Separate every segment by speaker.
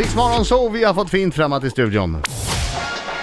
Speaker 1: Riksmorgon så vi har fått fint framåt i studion.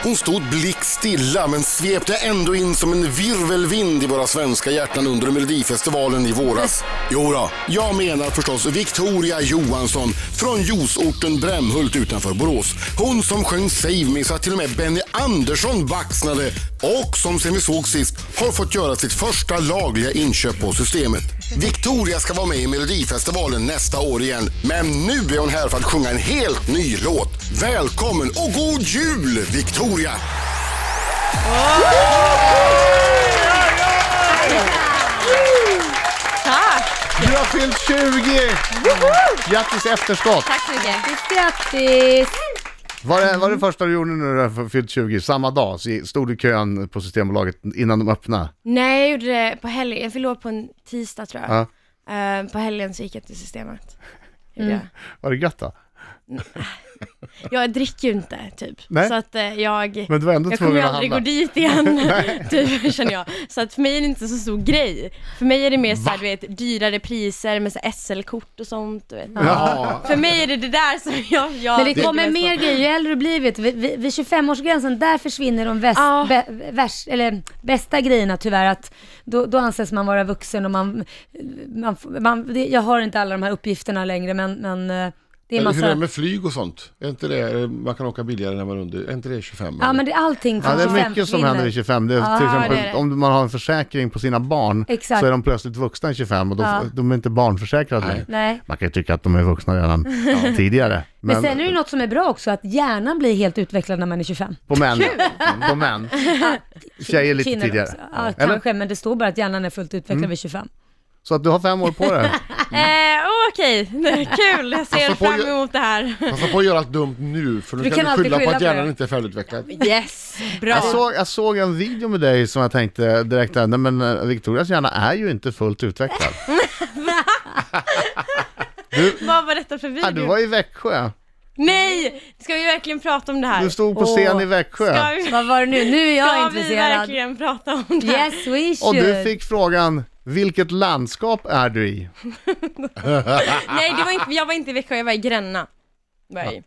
Speaker 2: Hon stod blickstilla men svepte ändå in som en virvelvind i våra svenska hjärtan under Melodifestivalen i våras. Jo då, jag menar förstås Victoria Johansson från juiceorten Brämhult utanför Borås. Hon som sjöng Save Me så att till och med Benny Andersson baxnade och som sen vi såg sist har fått göra sitt första lagliga inköp på Systemet. Victoria ska vara med i Melodifestivalen nästa år igen, men nu är hon här för att sjunga en helt ny låt. Välkommen och god jul Victoria!
Speaker 3: Tack!
Speaker 1: Du har fyllt 20! Grattis efterskott!
Speaker 3: Tack så mycket.
Speaker 4: Grattis!
Speaker 1: Var det, var det första du gjorde när du hade fyllt 20? Samma dag så stod du i kön på Systembolaget innan de öppnade.
Speaker 3: Mm.
Speaker 4: Nej, jag gjorde det på helgen. Jag förlorade på en tisdag tror jag.
Speaker 1: Ja. Mm.
Speaker 4: Eh, på helgen så gick jag till systemet. Gjorde
Speaker 1: Var det gött då?
Speaker 4: Jag. jag dricker ju inte typ.
Speaker 1: Nej.
Speaker 4: Så att eh, jag,
Speaker 1: Men du var ändå
Speaker 4: jag kommer ju
Speaker 1: tvungen att
Speaker 4: aldrig
Speaker 1: handla.
Speaker 4: gå dit igen. typ, känner jag. Så att för mig är det inte så stor grej. För mig är det mer såhär, du vet, dyrare priser med så här SL-kort och sånt. Du vet.
Speaker 1: Ja.
Speaker 4: För mig är det det där som jag... jag
Speaker 3: Men det kommer
Speaker 4: mest
Speaker 3: mer
Speaker 4: på.
Speaker 3: grejer ju äldre du blir vet du. Vid, vid vid 25-årsgränsen, där försvinner de väst,
Speaker 4: Ja.
Speaker 3: bä, värs, eller, bästa grejerna tyvärr. Att då, då anses man vara vuxen och man... man, man det, jag har inte alla de här uppgifterna längre men, men eh, det är
Speaker 5: Eller hur är det
Speaker 3: massa...
Speaker 5: med flyg och sånt? Är inte det, eh, man kan åka billigare när man är under, är inte det 25?
Speaker 3: Ja
Speaker 5: eller?
Speaker 3: men det, allting
Speaker 1: Ja,
Speaker 3: från
Speaker 1: det
Speaker 3: 25
Speaker 1: är mycket som händer vid
Speaker 3: försvinner.
Speaker 1: 25. Det är, till
Speaker 4: Ja,
Speaker 1: exempel
Speaker 4: det är det.
Speaker 1: om man har en försäkring på sina barn
Speaker 3: Exakt.
Speaker 1: så är de plötsligt vuxna i 25 och då,
Speaker 3: Ja.
Speaker 1: de är inte barnförsäkrade längre.
Speaker 3: Nej.
Speaker 1: Man kan ju tycka att de är vuxna redan tidigare.
Speaker 3: Men, sen är det ju något som är bra också, att hjärnan blir helt utvecklad när man är 25.
Speaker 1: På män. På män. Tjejer lite
Speaker 3: Kvinnor
Speaker 1: tidigare.
Speaker 3: också. Ja,
Speaker 1: Eller? Mm.
Speaker 3: kanske, men det står bara att hjärnan är fullt utvecklad vid 25.
Speaker 1: Så att du har fem år på dig.
Speaker 4: Eh, åh, Okej, kul.
Speaker 1: Alltså,
Speaker 4: Jag ser
Speaker 5: på
Speaker 4: fram
Speaker 5: ju-
Speaker 4: emot det här.
Speaker 5: Passa på att göra allt dumt nu för nu
Speaker 3: Du
Speaker 5: kan,
Speaker 3: kan
Speaker 5: du
Speaker 3: alltid
Speaker 5: skylla på
Speaker 3: skylla
Speaker 5: att
Speaker 3: på
Speaker 5: hjärnan
Speaker 3: det.
Speaker 5: inte är färdigutveckad.
Speaker 4: Yes, bra.
Speaker 1: Jag såg, jag såg en video med dig som jag tänkte direkt, nej men eh, Victorias hjärna är ju inte fullt utvecklad.
Speaker 4: Vad var detta för
Speaker 1: Ja,
Speaker 4: video?
Speaker 1: du var i Växjö.
Speaker 4: Nej! Ska vi verkligen prata om det här?
Speaker 1: Du stod på scen i
Speaker 4: Ska
Speaker 1: Växjö.
Speaker 4: vi,
Speaker 3: Vad var det nu? Nu är jag
Speaker 4: ska vi
Speaker 3: intresserad.
Speaker 4: verkligen prata om det här?
Speaker 3: Yes, we should.
Speaker 1: Och du fick frågan, vilket landskap är du i?
Speaker 4: Nej, det var inte, jag var inte i Växjö, jag var i Gränna. Var jag i.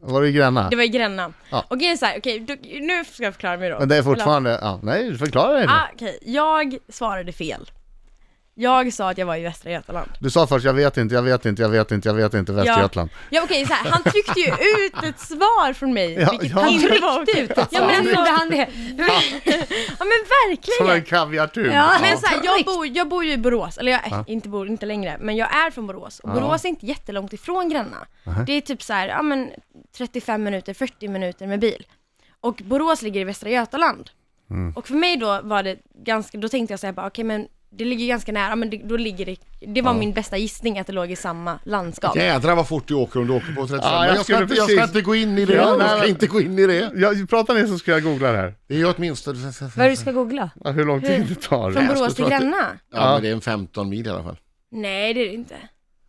Speaker 1: Var du i Gränna?
Speaker 4: Det var i Gränna.
Speaker 1: Ja.
Speaker 4: Och grejen är såhär, okej, då- nu ska jag förklara mig då.
Speaker 1: Men det är fortfarande, ja, nej förklara dig
Speaker 4: Eller-
Speaker 1: nu.
Speaker 4: Ah, okej, jag svarade fel. Jag sa att jag var i Västra Götaland.
Speaker 1: Du sa först, jag vet inte, jag vet inte, jag vet inte, jag vet inte, Västergötland.
Speaker 4: Ja okej, så här, han tryckte ju ut ett svar från mig.
Speaker 1: Ja,
Speaker 4: vilket
Speaker 1: ja. Han
Speaker 4: inte var
Speaker 3: Tryckte
Speaker 4: okej.
Speaker 3: ut ett
Speaker 4: Ja men,
Speaker 3: svar. Gjorde
Speaker 4: alltså,
Speaker 3: han det?
Speaker 4: ja men
Speaker 1: Som en
Speaker 4: verkligen.
Speaker 1: kaviartub.
Speaker 3: Ja.
Speaker 4: Men så här, jag,
Speaker 3: Tryckt.
Speaker 4: bor, jag bor ju i Borås, eller jag är inte, bor, inte längre, men jag är från Borås. Och Borås är inte jättelångt ifrån Gränna. Det är typ så här, ja men 35 minuter, 40 minuter med bil. Och Borås ligger i Västra Götaland.
Speaker 5: Mm.
Speaker 4: Och för mig då var det ganska, då tänkte jag så här bara, okej men det ligger ju ganska nära, men det, då ligger det, det var min bästa gissning att det låg i samma landskap.
Speaker 5: Jädrar vad fort du åker om du åker på 35.
Speaker 1: Ja, jag
Speaker 5: Men jag, ska
Speaker 1: skulle
Speaker 5: inte, jag ska
Speaker 1: precis-
Speaker 5: inte gå in i det.
Speaker 1: Ja, nej,
Speaker 5: jag ska
Speaker 1: men-
Speaker 5: inte gå in i det.
Speaker 1: Jag, pratar ni så ska jag googla det här.
Speaker 5: Det är ju åtminstone...
Speaker 3: Vad du ska googla?
Speaker 1: Ja, Hur lång tid det tar.
Speaker 4: Från
Speaker 5: jag
Speaker 4: Borås till
Speaker 5: skulle tro att det-
Speaker 4: Gränna?
Speaker 5: Ja, men det är en 15 mil i alla fall.
Speaker 4: Nej det är det inte.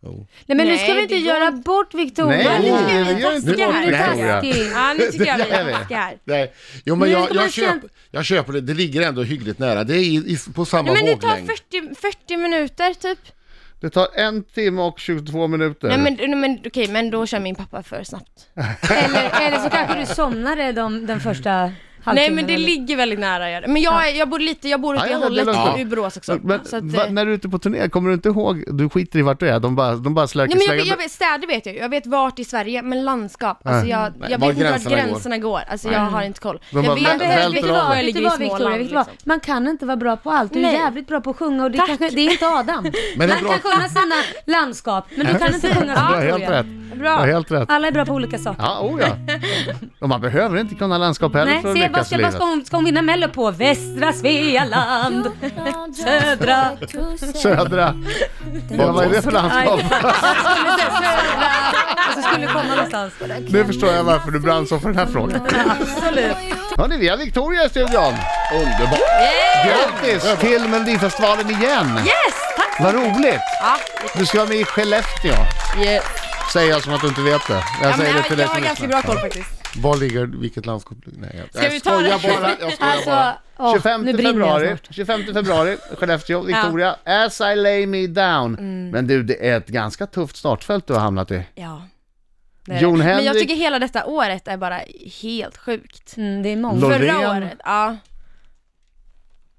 Speaker 3: Nej men nu ska
Speaker 4: Nej,
Speaker 3: vi inte
Speaker 4: det går
Speaker 3: göra bort Victoria.
Speaker 1: Nej,
Speaker 3: nu
Speaker 5: det
Speaker 3: tycker jag vi
Speaker 4: gör
Speaker 3: är
Speaker 4: inte
Speaker 3: taskiga här.
Speaker 4: Victoria.
Speaker 3: Nu är vi taskiga.
Speaker 4: Ja nu tycker jag vi
Speaker 1: är
Speaker 4: är
Speaker 1: vi.
Speaker 4: taskiga.
Speaker 5: Nej, jo men
Speaker 3: Nu
Speaker 5: jag,
Speaker 3: kommer
Speaker 5: jag,
Speaker 3: känd-
Speaker 5: köper, jag köper det. Det ligger ändå hyggligt nära. Det är i, i, på samma
Speaker 4: Nej men det tar
Speaker 5: våglängd.
Speaker 4: 40, 40 minuter typ.
Speaker 1: Det tar en timme och 22 minuter.
Speaker 4: Nej men, nej, men okej, men då kör min pappa för snabbt.
Speaker 3: Eller, eller så kanske du somnade de, den första halvtimmen.
Speaker 4: Nej men det
Speaker 3: eller-
Speaker 4: ligger väldigt nära gör det. Men jag, är- jag bor lite, jag bor åt
Speaker 1: Ja,
Speaker 4: det
Speaker 1: ja, det
Speaker 4: hållet,
Speaker 1: låter-
Speaker 4: ur Borås också.
Speaker 1: Men,
Speaker 4: så att,
Speaker 1: va,
Speaker 4: eh,
Speaker 1: när du är ute på turné, kommer du inte ihåg, du skiter i vart du är, de bara, de bara slöker,
Speaker 4: Nej men jag, vet-
Speaker 1: slänger-
Speaker 4: jag vet, städer vet jag ju. jag vet vart i Sverige, men landskap, alltså jag, jag
Speaker 5: var
Speaker 4: vet inte vart
Speaker 5: gränserna går.
Speaker 4: gränserna går, alltså jag har inte koll.
Speaker 1: De bara
Speaker 4: jag
Speaker 1: vä-
Speaker 4: vet,
Speaker 1: välter
Speaker 4: jag
Speaker 3: Vet
Speaker 4: vet
Speaker 3: du
Speaker 1: av
Speaker 4: var
Speaker 3: vad, vet
Speaker 4: jag ligger
Speaker 3: du
Speaker 4: i
Speaker 3: vad Victoria,
Speaker 4: Småland
Speaker 3: vet du vad?
Speaker 4: liksom.
Speaker 3: Man kan inte vara bra på allt. Du är
Speaker 4: Nej.
Speaker 3: jävligt bra på att sjunga och det,
Speaker 4: Tack.
Speaker 3: kanske, det är inte Adam.
Speaker 5: Men det är
Speaker 3: Han
Speaker 5: bra-
Speaker 3: kan sjunga sina landskap, men du kan inte sjunga
Speaker 1: Du har
Speaker 3: som
Speaker 1: helt
Speaker 3: Victoria.
Speaker 1: rätt. Du har
Speaker 4: Bra.
Speaker 1: helt rätt.
Speaker 3: Alla är bra på olika saker.
Speaker 1: Ja, oh ja. Och man behöver inte kunna landskap heller
Speaker 3: Nej,
Speaker 1: för att
Speaker 3: se, vad
Speaker 1: lyckas i
Speaker 3: ska, vad
Speaker 1: livet.
Speaker 3: ska, hon, ska hon vinna Mello på? Västra Svealand, södra...
Speaker 1: Södra. Ja, vad är det för landskap?
Speaker 3: Men sen södra... Alltså skulle komma någonstans.
Speaker 1: Nu förstår jag varför du brann så för den här frågan.
Speaker 3: Absolut.
Speaker 1: Hörni, vi har Victoria i studion.
Speaker 5: Underbart!
Speaker 1: Grattis till Melodifestivalen igen.
Speaker 4: Yes! Tack!
Speaker 1: Vad roligt.
Speaker 4: Ja,
Speaker 1: Du ska vara med i Skellefteå.
Speaker 4: yes.
Speaker 1: Säger jag som att du inte vet det. Jag
Speaker 4: Ja, men,
Speaker 1: säger det
Speaker 4: jag,
Speaker 1: till dig
Speaker 4: jag har
Speaker 1: som
Speaker 4: ganska
Speaker 1: lyssnar.
Speaker 4: bra koll faktiskt.
Speaker 5: Var ligger, vilket landskap? Nej, jag,
Speaker 4: Ska vi
Speaker 5: jag
Speaker 4: ta det?
Speaker 5: skojar bara. Jag skojar bara.
Speaker 3: Alltså, åh,
Speaker 1: 25
Speaker 3: nu brinner
Speaker 1: februari,
Speaker 3: jag snart.
Speaker 1: 25 februari, Skellefteå, Victoria, As
Speaker 3: Mm.
Speaker 1: I lay me down. Men du, det är ett ganska tufft startfält du har hamnat i.
Speaker 4: Ja. det är det.
Speaker 1: Jon
Speaker 4: Men jag
Speaker 1: Henrik-
Speaker 4: tycker hela detta året är bara helt sjukt.
Speaker 3: Mm, det är många.
Speaker 1: Lo- Loreen.
Speaker 4: Förra året, ja.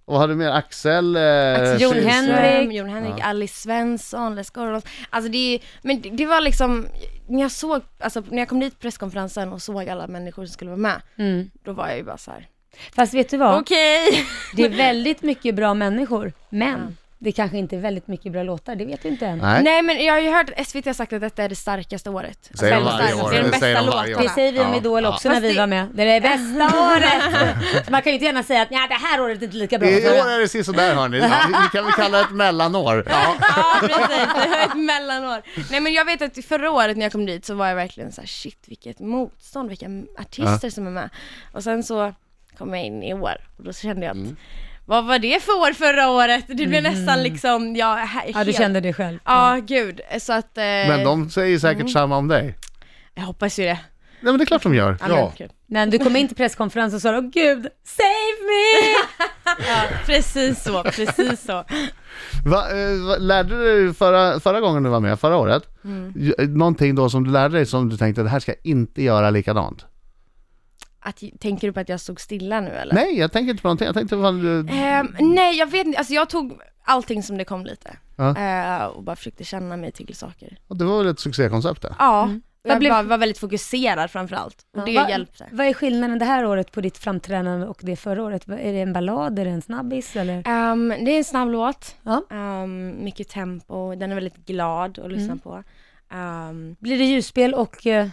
Speaker 1: Och hade du mer Axel? Eh,
Speaker 3: Axel Jon
Speaker 1: Kihlström.
Speaker 3: Henrik.
Speaker 4: Henrik, Jon Henrik, Alice Svensson, Les Gordos. Alltså det är, men det- det var liksom, när jag såg, alltså när jag kom dit på presskonferensen och såg alla människor som skulle vara med,
Speaker 3: Mm.
Speaker 4: då var jag ju bara så här.
Speaker 3: Fast vet du vad?
Speaker 4: okej.
Speaker 3: Det är väldigt mycket bra människor, men det kanske inte är väldigt mycket bra låtar, det vet vi inte än.
Speaker 1: Nej.
Speaker 4: Nej men jag har ju hört att SVT har sagt att detta är det starkaste året.
Speaker 1: Säger de
Speaker 4: Alltså,
Speaker 1: varje
Speaker 4: starkaste.
Speaker 1: år.
Speaker 4: Det är
Speaker 1: Det
Speaker 4: den
Speaker 1: säger
Speaker 4: bästa
Speaker 1: de varje år.
Speaker 3: Det
Speaker 4: låten.
Speaker 3: säger vi om
Speaker 1: Ja,
Speaker 3: Idol
Speaker 1: ja.
Speaker 3: också när
Speaker 4: Fast
Speaker 3: vi
Speaker 4: det-
Speaker 3: var med. Det är det bästa året! Så man kan ju inte gärna säga att nej, det här året är inte lika bra.
Speaker 1: I
Speaker 3: som
Speaker 1: i år
Speaker 3: förra."
Speaker 1: är det sisådär hörni. Vi kan väl kalla det ett mellanår. Ja.
Speaker 4: Ja precis, det var ett mellanår. Nej men jag vet att förra året när jag kom dit så var jag verkligen så här: shit vilket motstånd, vilka artister som är med. Och sen så kom jag in i år och då kände jag att,
Speaker 1: Mm.
Speaker 4: vad var det för år förra året? Det blev nästan liksom, ja, he-
Speaker 3: Mm. Ja, du
Speaker 4: helt-
Speaker 3: kände det själv.
Speaker 4: Ja, gud. Så att, eh,
Speaker 1: Men de säger säkert
Speaker 3: Mm.
Speaker 1: samma om dig.
Speaker 4: jag hoppas ju det.
Speaker 1: Nej men det är klart de gör.
Speaker 4: Ja,
Speaker 5: Ja.
Speaker 4: men kul.
Speaker 3: Men du kom in till presskonferensen och sa åh gud, save me!
Speaker 4: Precis så, precis så.
Speaker 1: Va, eh, va, lärde du dig förra, förra gången du var med, förra året,
Speaker 3: Mm.
Speaker 1: ju- eh, någonting då som du lärde dig som du tänkte det här ska jag inte göra likadant?
Speaker 4: Att, tänker du på att jag stod stilla nu eller?
Speaker 1: Nej, jag tänker inte på någonting. Jag tänkte på... du-
Speaker 4: Ehm, nej, jag vet inte. Alltså jag tog allting som det kom lite.
Speaker 1: Ja.
Speaker 4: Eh, och bara försökte känna mig till saker.
Speaker 1: och Det var väl ett succékoncept det?
Speaker 4: Ja. Och
Speaker 3: Vad
Speaker 4: Mm. jag
Speaker 3: blev-
Speaker 4: var, var väldigt fokuserad framförallt. Och det
Speaker 3: Vad-
Speaker 4: hjälpte.
Speaker 3: Vad är skillnaden det här året på ditt framträdande och det förra året? Vad- Är det en ballad, är det en snabbis eller?
Speaker 4: Ehm, det är en snabb låt.
Speaker 3: Ja.
Speaker 4: Ehm, mycket tempo. Den är väldigt glad att lyssna på. Ehm,
Speaker 3: Blir det ljusspel och... eh,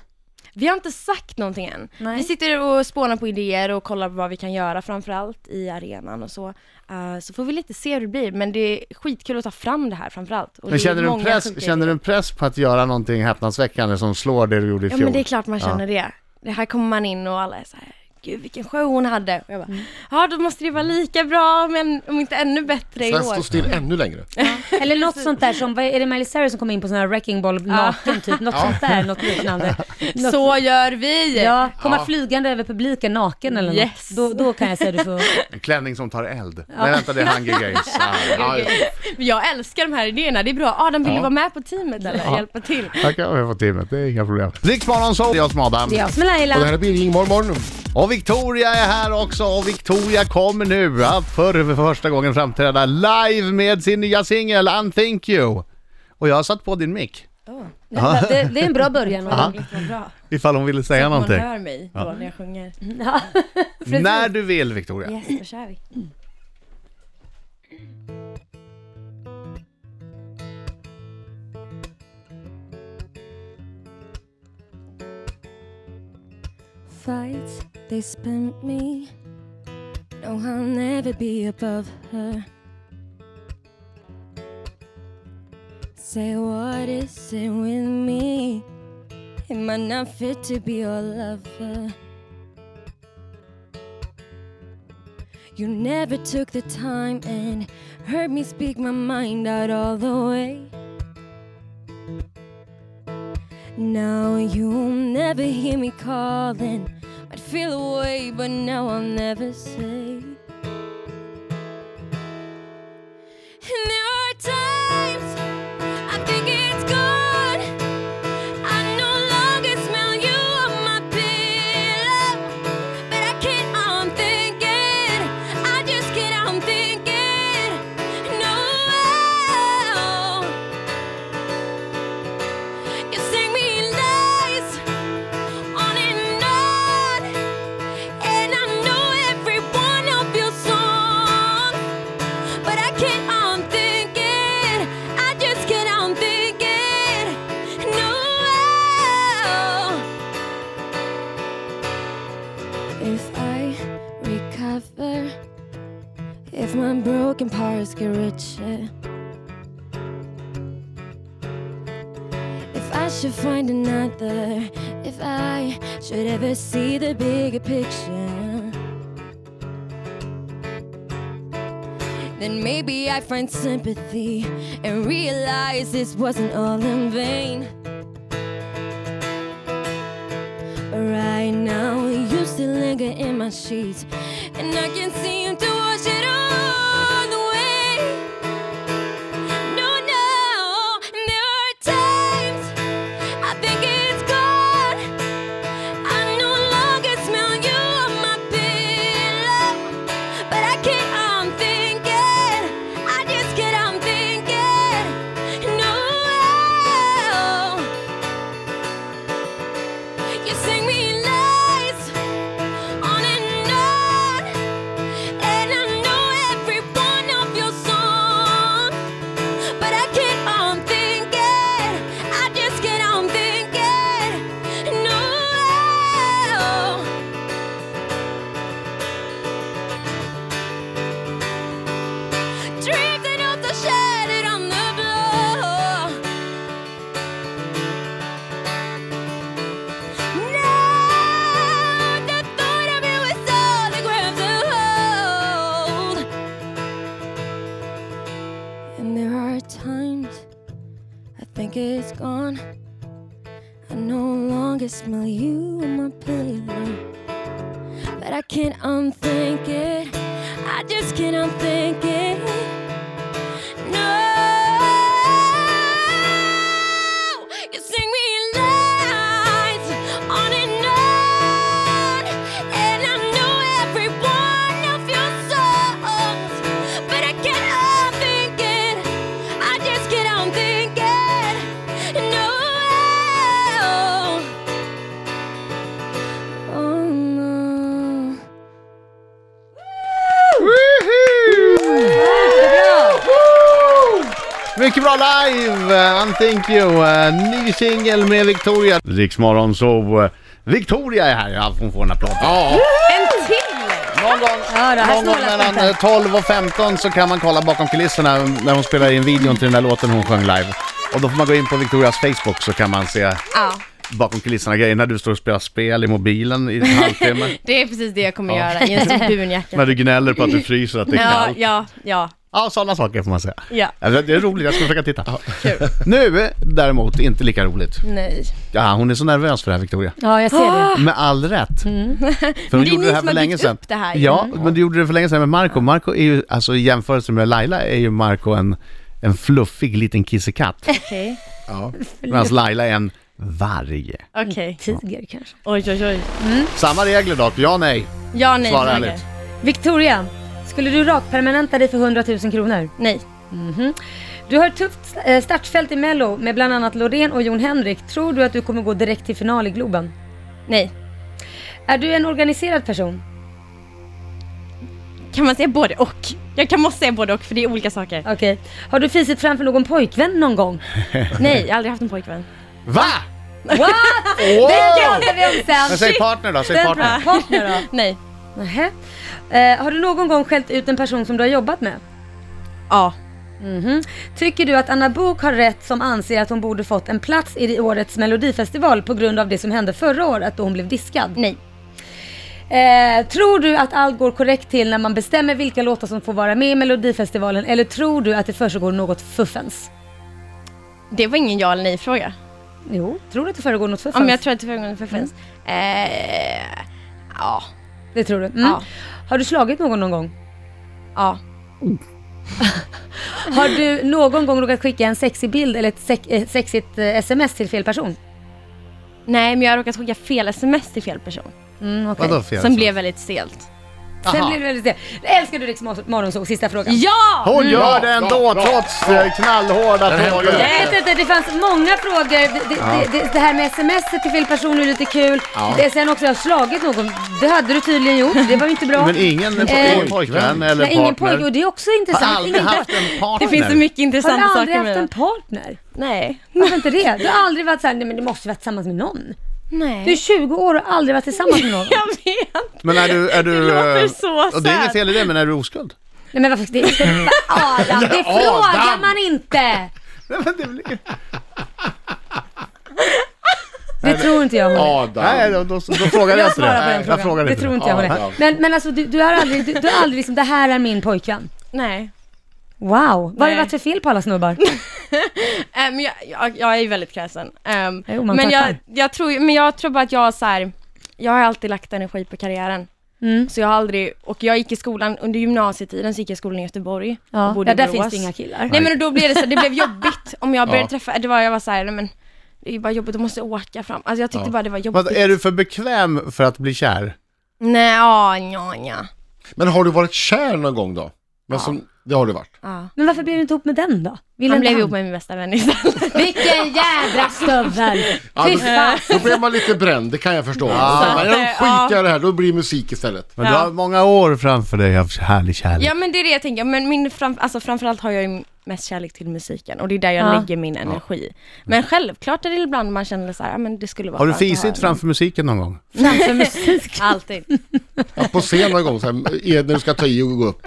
Speaker 4: vi har inte sagt någonting än.
Speaker 3: Nej.
Speaker 4: Vi sitter och spånar på idéer och kollar vad vi kan göra framförallt i arenan och så. Eh, så får vi lite se hur det blir. Men det är skitkul att ta fram det här framförallt. Och det
Speaker 1: Men
Speaker 4: är
Speaker 1: känner du, en
Speaker 4: många
Speaker 1: press,
Speaker 4: sjuka
Speaker 1: känner du
Speaker 4: idéer.
Speaker 1: en press på att göra någonting häpnadsväckande som slår det du gjorde i
Speaker 4: Ja
Speaker 1: fjol?
Speaker 4: men det är klart man känner det. Det här kommer man in och alla är så här, gud vilken show hon hade. Och jag bara,
Speaker 3: Mm.
Speaker 4: ja då måste det vara
Speaker 1: Mm.
Speaker 4: lika bra men om inte ännu bättre i
Speaker 5: Sen
Speaker 4: år.
Speaker 5: står still ännu längre.
Speaker 3: Eller något sånt där som, vad är är det Miley Cyrus som kom in på sån här wrecking ball naken typ? Något sånt där, något liknande. Något,
Speaker 4: Så gör vi!
Speaker 3: Ja, komma flygande över publiken naken eller
Speaker 4: Yes.
Speaker 3: något. Då, då kan jag säga du får...
Speaker 1: En klänning som tar eld. Nej vänta, det är Hunger Games. Ja, ja, ja.
Speaker 4: Jag älskar de här idéerna, det är bra. Adam, vill du vara med på teamet eller hjälpa till?
Speaker 1: Tack kan jag få teamet, det är inga problem. Riksmorgon så det är jag som är Adam.
Speaker 3: Det är jag som är Laila.
Speaker 5: Och det här blir Ingmar morgon.
Speaker 1: Och Victoria är här också och Victoria kommer nu att för första gången framträda live med sin nya singel Unthink You. Och jag har satt på din mick,
Speaker 3: Ja, Det, det är en bra början.
Speaker 1: Ja.
Speaker 4: Vad bra.
Speaker 1: ifall hon ville säga
Speaker 4: Man
Speaker 1: någonting.
Speaker 4: hör mig då när jag sjunger.
Speaker 3: Ja.
Speaker 1: När du vill Victoria.
Speaker 4: Yes, då kör vi. Fights they spent me. No, I'll never be above her. Say, what is it with me? Am I not fit to be your lover? You never took the time and heard me speak my mind out all the way. Now you'll never hear me calling. I'd feel away, but now I'll never say. And there are times I think it's gone. I no longer smell you on my pillow. But I keep on thinking, I just keep on thinking, no. You sing me lies on and on, and I know every one of your songs. But I keep on thinking, I just keep on thinking, no. If I recover, if my broken parts get richer, if I should find another, if I should ever see the bigger picture, then maybe I find sympathy and realize this wasn't all in vain. Right now, you still linger in my sheets, and I can't seem to wash it all away. No, no, there are times I think it's gone.
Speaker 6: you sing me lies on and on, and I know every one of your songs, but I keep on thinking, I just get on thinking, no. Drifting off the shattered on the floor. Now the thought of you is all that grabs a hold. And there are times I think it's gone. I no longer smell you on my pillow but I can't unthink it. I just can't unthink it. No, you sing me lies on and on, and I know every one of your songs, but I can't unthink it. I just can't unthink it. No. Oh no.
Speaker 1: Mycket bra live! eh, And thank you! Eh, Ny singel med Victoria. Riksmorgon så eh, Victoria är här, ja, hon får en applåd.
Speaker 5: Ja,
Speaker 4: En till!
Speaker 1: Någon gång,
Speaker 3: Ja, det här
Speaker 1: någon gång
Speaker 3: snålas
Speaker 1: mellan
Speaker 3: inte.
Speaker 1: eh, 12 och 15 så kan man kolla bakom kulisserna när hon spelar in videon till den där låten hon sjöng live. Och då får man gå in på Victorias Facebook så kan man se
Speaker 4: Ja,
Speaker 1: bakom kulisserna grejer när du står och spelar spel i mobilen i en halvtimme.
Speaker 4: det är precis det jag kommer
Speaker 1: Ja.
Speaker 4: göra i en stor dunjacka.
Speaker 1: när du gnäller på att du fryser att det är
Speaker 4: Ja,
Speaker 1: kallt.
Speaker 4: ja, ja,
Speaker 1: Ja, sådana saker får man säga.
Speaker 4: ja.
Speaker 1: Ja, Det är roligt, jag ska försöka titta.
Speaker 4: Kul.
Speaker 1: Nu däremot, inte lika roligt.
Speaker 4: Nej.
Speaker 1: Ja, hon är så nervös för det här Victoria.
Speaker 3: Ja, jag ser
Speaker 4: Ah.
Speaker 3: det.
Speaker 1: Med all rätt. För
Speaker 4: Mm. är
Speaker 1: hon
Speaker 4: ni
Speaker 1: gjorde det här
Speaker 4: som
Speaker 1: för
Speaker 4: har
Speaker 1: länge
Speaker 4: byggt
Speaker 1: sedan.
Speaker 4: upp det här Mm. ju.
Speaker 1: Ja, men du gjorde det för länge sedan med Marco. Marco är ju, alltså i jämförelse med Laila är ju Marco en, en fluffig liten kissekatt.
Speaker 4: Okej.
Speaker 1: Medan Laila är en varg.
Speaker 4: Okej.
Speaker 3: Tiger kanske.
Speaker 4: Oj, oj, oj.
Speaker 1: Samma regler dock, ja nej.
Speaker 4: Ja, nej.
Speaker 1: Svara
Speaker 4: frågor.
Speaker 1: ärligt.
Speaker 3: Victoria, skulle du rakpermanenta dig för 100 000 kronor? Mhm.
Speaker 4: Nej.
Speaker 3: Du har ett tufft eh, startfält i Mello med bland annat Loreen och Jon Henrik. Tror du att du kommer gå direkt till final i Globen?
Speaker 4: Nej.
Speaker 3: Är du en organiserad person?
Speaker 4: Kan man säga både och? Jag kan måste säga både och för det är olika saker.
Speaker 3: Okej. Har du fisit framför någon pojkvän någon gång?
Speaker 4: Nej, jag har aldrig haft en pojkvän.
Speaker 1: Va?
Speaker 3: What?
Speaker 1: Åh!
Speaker 3: Det pratar vi om
Speaker 1: Men
Speaker 3: sen!
Speaker 1: säg partner då, säg
Speaker 4: Den
Speaker 1: partner.
Speaker 3: Partner då?
Speaker 4: Nej.
Speaker 3: Nähä. Eh, har du någon gång skällt ut en person som du har jobbat med?
Speaker 4: Ja.
Speaker 3: Mhm. Tycker du att Anna Bok har rätt som anser att hon borde fått en plats i årets melodifestival på grund av det som hände förra året då hon blev diskad?
Speaker 4: Nej.
Speaker 3: Eh, tror du att allt går korrekt till när man bestämmer vilka låtar som får vara med i melodifestivalen eller tror du att det försiggår något fuffens?
Speaker 4: Det var ingen ja eller nej fråga.
Speaker 3: Jo, tror du att det föregår något
Speaker 4: Ja,
Speaker 3: fuffens?
Speaker 4: men jag tror att det var en förfens. Eh, ja.
Speaker 3: Det tror du? Mm.
Speaker 4: Ja.
Speaker 3: Har du slagit någon någon gång?
Speaker 4: Ja.
Speaker 3: Har du någon gång råkat skicka en sexig bild eller ett sex, eh, sexigt eh, sms till fel person?
Speaker 4: Nej, men jag har råkat skicka fel sms till fel person.
Speaker 3: Mm, okej.
Speaker 1: Vadå fel?
Speaker 4: Som blev väldigt stelt.
Speaker 3: Sen
Speaker 1: Aha.
Speaker 3: blev det väldigt det. Älskar du Rix Morgonzoo? Sista frågan.
Speaker 4: Ja!
Speaker 1: Hon gör
Speaker 5: Bra,
Speaker 1: det ändå
Speaker 5: bra, bra.
Speaker 1: trots eh, knallhårda
Speaker 5: här
Speaker 1: frågor.
Speaker 5: var ju-
Speaker 3: Jag vet inte, det fanns många frågor. Det, det, det, det, det här med sms till fel person är lite kul. Det, sen också, jag har slagit någon. Det hade du tydligen gjort, det var ju inte bra.
Speaker 1: Men ingen
Speaker 3: Eh,
Speaker 1: ingen pojkvän eller
Speaker 3: Nej, ingen pojke,
Speaker 1: partner.
Speaker 3: och det är också
Speaker 1: Har
Speaker 3: intressant.
Speaker 1: aldrig
Speaker 3: Ingen,
Speaker 1: haft en partner.
Speaker 4: Det finns så mycket
Speaker 3: har
Speaker 4: intressanta
Speaker 3: du
Speaker 4: saker
Speaker 3: aldrig
Speaker 4: med
Speaker 3: haft en
Speaker 4: den.
Speaker 3: partner?
Speaker 4: Nej.
Speaker 3: Varför inte det? Du har aldrig varit såhär, nej men du måste vara tillsammans med någon.
Speaker 4: Nej.
Speaker 3: Du är 20 år och har aldrig varit tillsammans med någon.
Speaker 4: Jag vet.
Speaker 1: Men är du... Är du
Speaker 4: Det låter
Speaker 1: eh,
Speaker 4: så
Speaker 1: och det är inget
Speaker 4: sad.
Speaker 1: fel i det, men är du oskuld?
Speaker 3: Nej men varför, det, det, Adam, det frågar man inte!
Speaker 1: Nej, men det blir...
Speaker 3: Det tror inte jag hon är.
Speaker 5: Adam.
Speaker 1: Nej, då, då, då frågar jag inte
Speaker 3: Svara på
Speaker 1: det.
Speaker 3: den
Speaker 1: Jag frågar
Speaker 3: frågan. Det
Speaker 1: inte
Speaker 3: tror inte jag hon
Speaker 5: Ja,
Speaker 3: är.
Speaker 5: ja.
Speaker 3: Men, men alltså du, du har aldrig, du, du har aldrig liksom, det här är min pojkvän.
Speaker 4: Nej.
Speaker 3: Wow, vad har det
Speaker 4: Nej.
Speaker 3: varit för fel på alla snubbar?
Speaker 4: Eh, men jag, jag, jag är ju väldigt kräsen. Ehm,
Speaker 3: Jo, man
Speaker 4: men, jag,
Speaker 3: tackar.
Speaker 4: jag tror, ju- men jag tror bara att jag så här, jag har alltid lagt energi på karriären.
Speaker 3: Mm.
Speaker 4: Så jag har aldrig, och jag gick i skolan, under gymnasietiden så gick jag i skolan i Göteborg. och
Speaker 3: Ja,
Speaker 4: bodde
Speaker 3: ja
Speaker 4: i
Speaker 3: där
Speaker 4: Borås.
Speaker 3: finns det inga killar.
Speaker 4: Nej men då blev det så, det blev jobbigt om jag började
Speaker 5: Ja.
Speaker 4: träffa, det var, jag var så här, nej men det är ju bara jobbigt, då måste jag åka fram. Alltså jag tyckte bara det var jobbigt.
Speaker 1: Men är du för bekväm för att bli kär?
Speaker 4: Nej, ja, ja, ja.
Speaker 5: Men har du varit kär någon gång då? Men som, det har det varit.
Speaker 3: Men varför blev du inte ihop med den då? Vill
Speaker 4: Han
Speaker 3: inte
Speaker 4: blev ihop med min bästa vän istället.
Speaker 3: Vilken jädra stövel!
Speaker 5: Ja,
Speaker 3: Fy
Speaker 5: då-
Speaker 3: fan.
Speaker 5: Då blev man lite bränd, det kan jag förstå.
Speaker 4: Så
Speaker 5: Ja.
Speaker 4: att,
Speaker 5: Men
Speaker 4: eh,
Speaker 5: jag skiter i det här, då blir det musik istället.
Speaker 1: Men du har många år framför dig av härlig kärlek.
Speaker 4: Ja men det är det jag tänker, men min fram, alltså, framförallt har jag ju mest kärlek till musiken och det är där jag
Speaker 3: Ja.
Speaker 4: lägger min energi. Men självklart är det ibland man känner så här, ja, men det skulle vara
Speaker 1: Har du
Speaker 4: skönt att ha
Speaker 1: fisit
Speaker 4: en-
Speaker 1: framför musiken någon gång?
Speaker 3: Framför musik.
Speaker 4: Alltid.
Speaker 5: Att på scen någon gång, så här, är när du ska ta i och gå upp.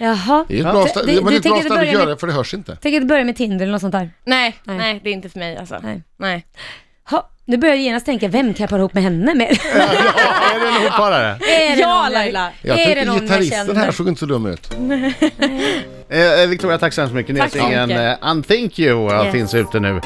Speaker 3: Jaha.
Speaker 5: Det är ett bra
Speaker 3: Du-
Speaker 5: ställe,
Speaker 3: du-
Speaker 5: men det
Speaker 3: du
Speaker 5: är ett bra
Speaker 3: tänker
Speaker 5: ställe att
Speaker 3: börja
Speaker 5: göra
Speaker 3: med-
Speaker 5: det, för det hörs inte.
Speaker 3: Tänker inte börja med Tinder eller något sånt där.
Speaker 4: Nej,
Speaker 3: Nej.
Speaker 4: nej, det är inte för mig alltså.
Speaker 3: Nej.
Speaker 4: Nej.
Speaker 3: Ha, nu börjar jag genast tänka, vem kan jag para ihop med henne med?
Speaker 1: Är det en hopparare?
Speaker 3: Är det
Speaker 4: Ja,
Speaker 3: någon, Laila?
Speaker 4: Laila.
Speaker 5: Jag
Speaker 3: är det
Speaker 5: tyckte
Speaker 3: någon jag
Speaker 5: gitarristen
Speaker 3: känner?
Speaker 5: här såg inte så dum ut.
Speaker 1: Eh, eh, Victoria, tack så hemskt mycket. Nya
Speaker 4: Tack så
Speaker 1: singeln
Speaker 4: mycket.
Speaker 1: eh, Unthink You eh,
Speaker 4: Yes.
Speaker 1: finns ute nu.